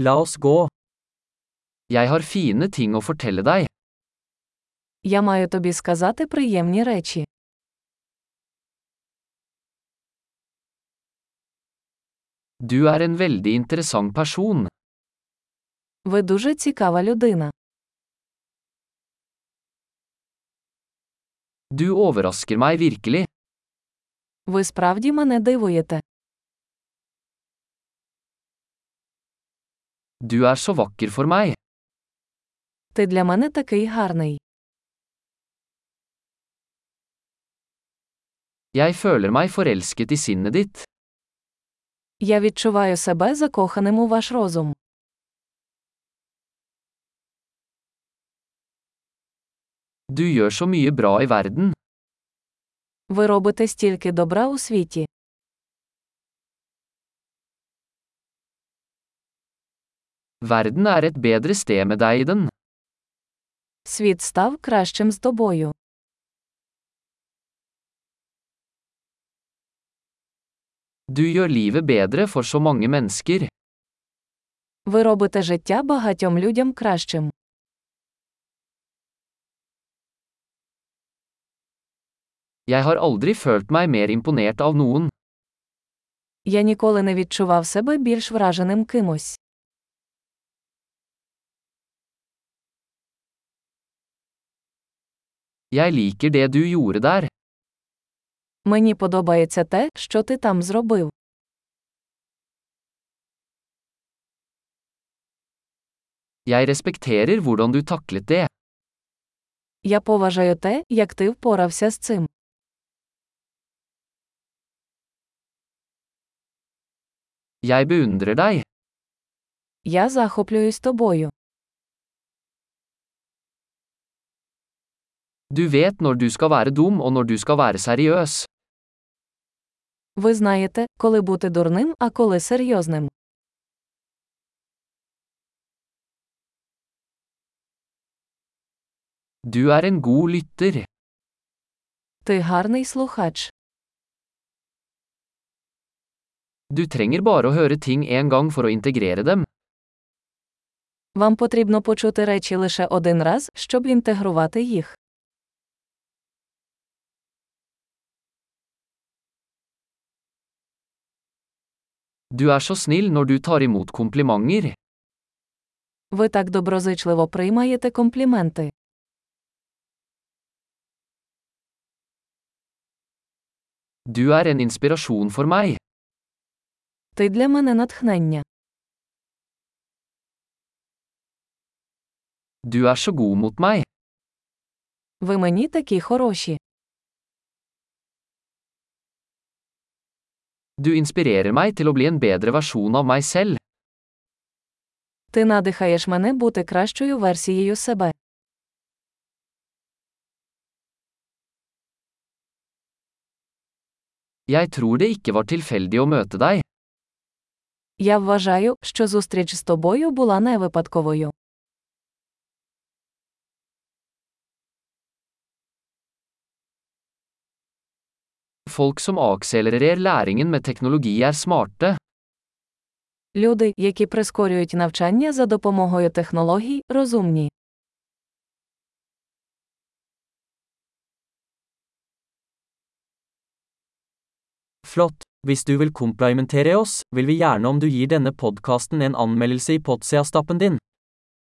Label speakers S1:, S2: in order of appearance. S1: La oss gå. Jeg har fine ting å fortelle deg.
S2: Я маю тобі сказати приємні речі.
S1: Du er en veldig interessant person.
S2: Ви дуже цікава людина.
S1: Du overrasker meg virkelig.
S2: Ви справді мене дивуєте.
S1: Du er så vakker for meg.
S2: Ти для мене такий гарний.
S1: Jeg føler meg forelsket i sinnet ditt.
S2: Я відчуваю себе закоханим у ваш розум.
S1: Du gjør så mye bra i verden.
S2: Ви робите стільки добра у світі.
S1: Verden er et bedre sted med deg i den.
S2: Світ став кращим з тобою.
S1: Du gjør livet bedre for så mange mennesker.
S2: Ви робите життя багатьом людям кращим.
S1: Jeg har aldri følt meg mer imponert av noen.
S2: Я ніколи не відчував себе більш враженим кимось.
S1: Jeg liker det du gjorde der.
S2: Мені подобається те, що ти там зробив.
S1: Jeg respekterer hvordan du taklet det.
S2: Я поважаю те, як ти впорався з цим.
S1: Jeg beundrer deg.
S2: Я захоплююсь тобою.
S1: Du vet når du skal være dum og når du skal være seriøs.
S2: Ви знаєте, коли бути дурним, а коли серйозним.
S1: Du er en god lytter.
S2: Ти гарний слухач.
S1: Du trenger bare å høre ting en gang for å integrere dem.
S2: Вам потрібно почути речі лише один раз, щоб інтегрувати їх.
S1: Du er så snill når du tar imot komplimenter.
S2: Ви так доброзичливо приймаєте компліменти.
S1: Du er en inspirasjon for meg.
S2: Ти для мене натхнення.
S1: Du er så god mot meg.
S2: Ви мені такі хороші.
S1: Du inspirerer meg til å bli en bedre versjon av meg selv.
S2: Ти надихаєш мене бути кращою версією себе.
S1: Jeg tror det ikke var tilfeldig å møte deg.
S2: Я вважаю, що зустріч з тобою була не випадковою.
S1: Folk som akselererer læringen med teknologi er smarte.
S2: Люди, які прискорюють навчання за допомогою технологій, розумні.
S3: Flott. Hvis du vil komplimentere oss, vil vi gjerne om du gir denne podkasten en anmeldelse i Potsia-stappen din.